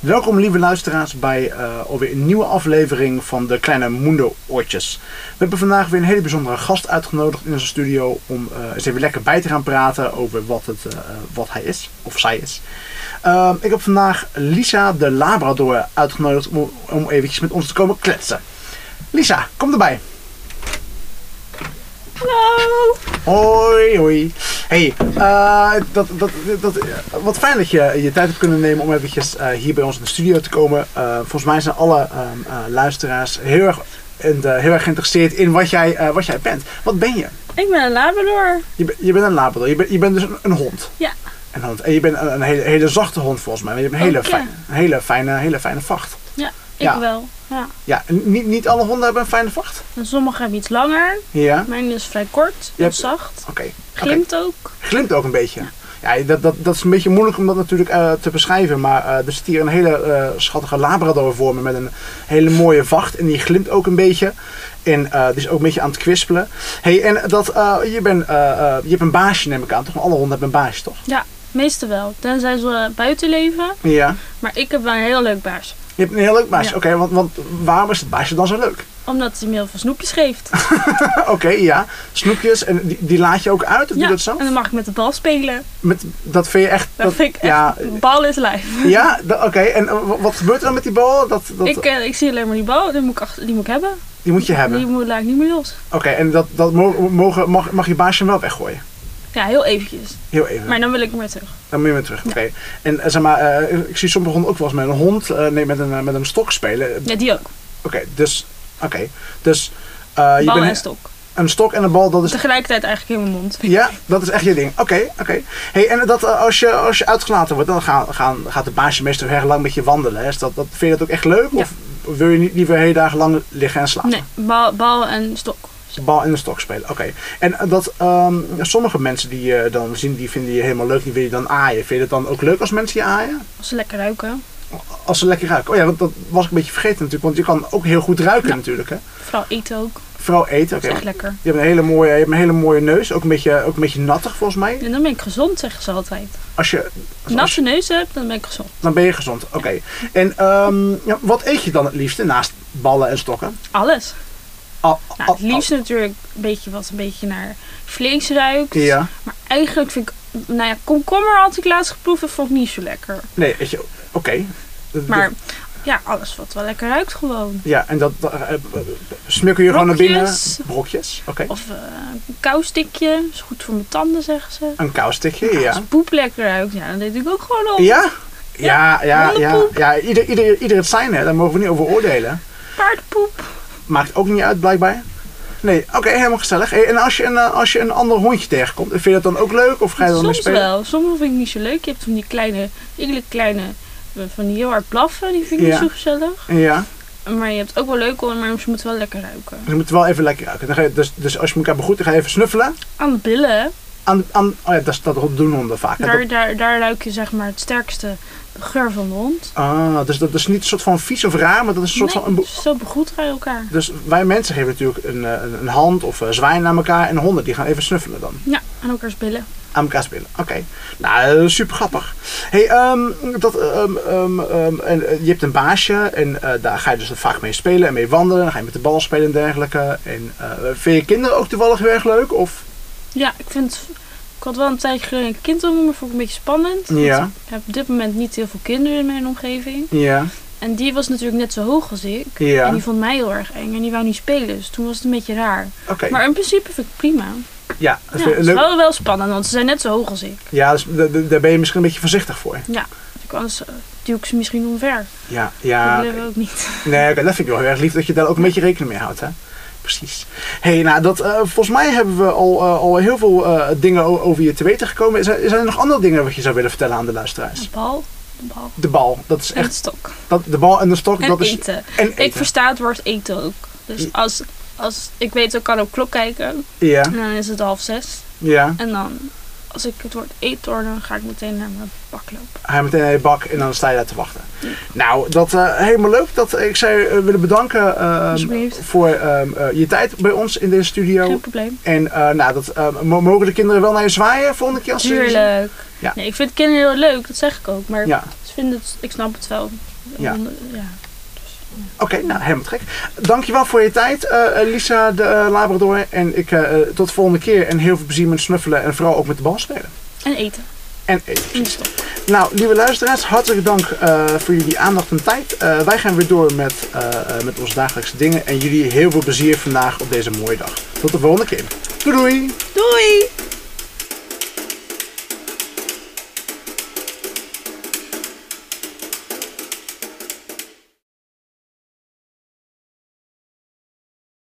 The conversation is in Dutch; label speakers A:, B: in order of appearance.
A: Welkom lieve luisteraars bij eh, alweer een nieuwe aflevering van de Kleine Mundo Oortjes. We hebben vandaag weer een hele bijzondere gast uitgenodigd in onze studio om eh, eens even lekker bij te gaan praten over wat, het, eh, wat hij is, of zij is. Ehm, ik heb vandaag Lisa de Labrador uitgenodigd om, om eventjes met ons te komen kletsen. Lisa, kom erbij.
B: Hallo!
A: Hoi, hoi. Hey, eh, dat, dat, dat, wat fijn dat je je tijd hebt kunnen nemen om eventjes eh, hier bij ons in de studio te komen. Eh, volgens mij zijn alle ehm, eh, luisteraars heel erg, en, eh, heel erg geïnteresseerd in wat jij, eh, wat jij bent. Wat ben je?
B: Ik ben een Labrador.
A: Je, ben- je bent een labrador. Je, bent- je bent dus een, een hond.
B: Ja.
A: Een hond. En je bent een, een hele, hele zachte hond volgens mij. Maar je hebt een hele,
B: Ook, ja.
A: fijne, een hele, fijne, hele fijne vacht.
B: Ik
A: Ja.
B: wel. Ja.
A: Ja, en niet, niet alle honden hebben een fijne vacht.
B: En sommigen hebben iets langer.
A: Ja, oké.
B: Mijn is vrij kort
A: Je
B: en
A: hebt-
B: zacht.
A: Oké.
B: Glimt ook.
A: glimt ook een beetje. Ja, dat, dat, dat is een beetje moeilijk om dat natuurlijk eh, te beschrijven. Maar eh, er zit hier een hele eh, schattige labrador voor me met een hele mooie vacht. En die glimt ook een beetje. En eh, die is ook een beetje aan het kwispelen. hey, en dat, eh, je, bent, eh, eh, je hebt een baasje neem ik aan, toch? Alle honden hebben een baasje, toch?
B: Meestal wel. Tenzij ze eh, buiten leven.
A: Ja.
B: Maar ik heb wel een heel leuk baas.
A: Je hebt een heel leuk baasje.
B: Ja.
A: Oké, want, want waarom is het baasje dan zo leuk?
B: Omdat hij me heel veel snoepjes geeft.
A: Oké, ja. Snoepjes. En die, die laat je ook uit? Of doe je dat zo?
B: en dan mag ik met de bal spelen.
A: Met, dat vind je echt...
B: Dat, vind ik echt.
A: ja,
B: Bal is lijf.
A: ja dat- oké. En eh, wa- wat gebeurt er dan met die bal? Dat, dat,
B: Ik, eh, ik zie alleen maar die bal. Die moet ik, achter, die moet ik hebben.
A: die moet je hebben.
B: Die moet, laat ik niet meer los.
A: Oké, en dat, dat mo- mogen, mag, mag je baasje hem wel weggooien?
B: Ja, heel eventjes.
A: Heel even.
B: Maar dan wil ik hem weer terug.
A: Dan moet je weer terug. Oké. En eh, zeg maar, eh, ik zie sommige honden ook wel eens met een hond, eh, nee, met een, eh, met een stok spelen. Oké,
B: Ja, die ook.
A: dus, oké. Dus, eh, je
B: Bal
A: bent
B: en stok.
A: een stok en een bal, dat is,
B: Tegelijkertijd eigenlijk in mijn mond.
A: ja, dat is echt je ding. Oké, oké. Hey, en dat, eh, als, je, als je uitgelaten wordt, dan gaan, gaan, gaat de baasje meestal heel erg lang met je wandelen. Hè? Is dat, dat, vind je dat ook echt leuk?
B: Ja.
A: Of wil je niet liever hele dagen lang liggen en slapen?
B: Nee, bal, bal en stok.
A: De bal in de stok spelen, oké. En eh, dat ehm, sommige mensen die je dan zien, die vinden je helemaal leuk, die wil je dan aaien. Vind je het dan ook leuk als mensen je aaien?
B: Als ze lekker ruiken.
A: Als ze lekker ruiken. Oh ja, want dat was ik een beetje vergeten natuurlijk, want je kan ook heel goed ruiken natuurlijk, hè.
B: Vooral eten ook.
A: Vooral eten,
B: Dat
A: oké.
B: is echt lekker.
A: Je hebt een hele mooie, je hebt een hele mooie neus, ook een beetje, ook een beetje nattig volgens mij.
B: En dan ben ik gezond, zeggen ze altijd.
A: Als je,
B: Als je
A: als
B: natte neus hebt, dan ben ik gezond.
A: dan ben je gezond, oké. En ehm, ja, wat eet je dan het liefste naast ballen en stokken?
B: Alles.
A: Al,
B: Nou, het
A: al-
B: liefst natuurlijk een beetje wat een beetje naar vlees ruikt.
A: al- ja,
B: Maar eigenlijk vind ik, nou ja, komkommer had ik laatst geproefd. Dat vond ik niet zo lekker.
A: nee, eet je, oké. Dat-
B: Maar ja, alles wat wel lekker ruikt gewoon.
A: Ja, en dat dat, eh, eh, smukkel je gewoon naar binnen.
B: Brokjes.
A: Brokjes, oké.
B: Of eh, een koustikje. Is goed voor mijn tanden, zeggen ze.
A: Een koustikje, ja.
B: Als poep lekker ruikt, ja, dan deed ik ook gewoon op.
A: Ja? Ja, ja, ja.
B: hondenpoep.
A: ja. Ieder, ieder, ieder het zijn, hè. Daar mogen we niet over oordelen.
B: Paardpoep.
A: Maakt ook niet uit, blijkbaar. Nee, oké, helemaal gezellig. Hey, en als je, een, eh, als je een ander hondje tegenkomt, vind je dat dan ook leuk? Of ga je dan mee
B: Soms
A: spelen?
B: wel. Sommige vind ik niet zo leuk. Je hebt van die kleine, hele kleine, eh, van die heel hard blaffen. Die vind ik
A: Ja.
B: niet zo gezellig.
A: Ja,
B: Maar je hebt ook wel leuke honden, maar ze moeten wel lekker ruiken.
A: dus je moet wel even lekker ruiken. Dan ga je, dus, dus als je elkaar begroet, dan ga je even snuffelen.
B: Aan de billen, hè.
A: Aan, aan, oh ja, dat, is- dat doen honden vaak. hè.
B: daar,
A: Dat-
B: daar, daar ruik je zeg maar het sterkste geur van de hond.
A: ah, dus dat is niet een soort van vies of raar, maar dat is een soort
B: Nee,
A: van... Een, be-
B: zo begroeten wij elkaar.
A: Dus wij mensen geven natuurlijk een, eh, een, een hand of eh, zwijn aan elkaar en honden die gaan even snuffelen dan.
B: Ja, aan elkaars billen.
A: Aan elkaar spelen. Oké. Nou, eh, super grappig. Hey, ehm, dat, ehm, ehm, ehm, en, eh, je hebt een baasje en eh, daar ga je dus vaak mee spelen en mee wandelen. Dan ga je met de bal spelen en dergelijke. En eh, vind je kinderen ook toevallig heel erg leuk? Of?
B: Ja, ik vind het- Ik had wel een tijdje geleden een kind om, maar vond ik een beetje spannend. Want
A: Ja.
B: Ik heb op dit moment niet heel veel kinderen in mijn omgeving.
A: Ja.
B: En die was natuurlijk net zo hoog als ik.
A: Ja.
B: En die vond mij heel erg eng en die wou niet spelen. Dus toen was het een beetje raar.
A: Oké.
B: Maar in principe vind ik het prima.
A: Ja, dat vind
B: Ja, het
A: je
B: is
A: leuk.
B: wel, wel spannend, want ze zijn net zo hoog als ik.
A: Ja, dus, da- da- daar ben je misschien een beetje voorzichtig voor.
B: Dus ik- Anders eh, duw ik ze misschien omver.
A: Ja,
B: dat
A: ja.
B: willen we ook niet.
A: Nee, oké, dat vind ik wel heel erg lief dat je daar ook een beetje rekening mee houdt, hè? Precies. hey, nou, dat, eh, volgens mij hebben we al, eh, al heel veel eh, dingen o- over je te weten gekomen. Is er- Zijn er nog andere dingen wat je zou willen vertellen aan de luisteraars?
B: Een bal. Een bal.
A: De bal, dat is
B: En
A: echt.
B: een stok.
A: Dat, de bal en de stok,
B: En
A: dat is.
B: eten.
A: En
B: Ik
A: eten.
B: versta het woord eten ook. Dus als, als ik weet, ik kan op klok kijken.
A: Ja,
B: En dan is het half zes.
A: ja.
B: En dan als ik het woord eethoorn, dan ga ik meteen naar mijn bak lopen.
A: Hij meteen naar je bak en dan sta je daar te wachten. Nou, dat eh, helemaal leuk. Dat, ik zou je eh, willen bedanken ehm,
B: Alsjeblieft.
A: voor ehm, eh, je tijd bij ons in deze studio.
B: Geen probleem.
A: En eh, nou, dat, ehm, mo- mogen de kinderen wel naar je zwaaien volgende keer als ze-
B: Tuurlijk.
A: Ja.
B: Nee, ik vind kinderen heel leuk, dat zeg ik ook. Maar
A: Ja,
B: ze vinden het, ik snap het wel.
A: Ja.
B: ja.
A: oké, nou helemaal te gek. Dankjewel voor je tijd, eh, eh, Lisa de eh, Labrador. En ik eh, eh, tot de volgende keer. En heel veel plezier met snuffelen en vooral ook met de bal spelen.
B: En eten.
A: En eh,
B: En stop.
A: Nou, lieve luisteraars, hartelijk dank eh, voor jullie aandacht en tijd. Eh, wij gaan weer door met, eh, eh, met onze dagelijkse dingen. En jullie heel veel plezier vandaag op deze mooie dag. Tot de volgende keer. Doei doei!
B: Doei!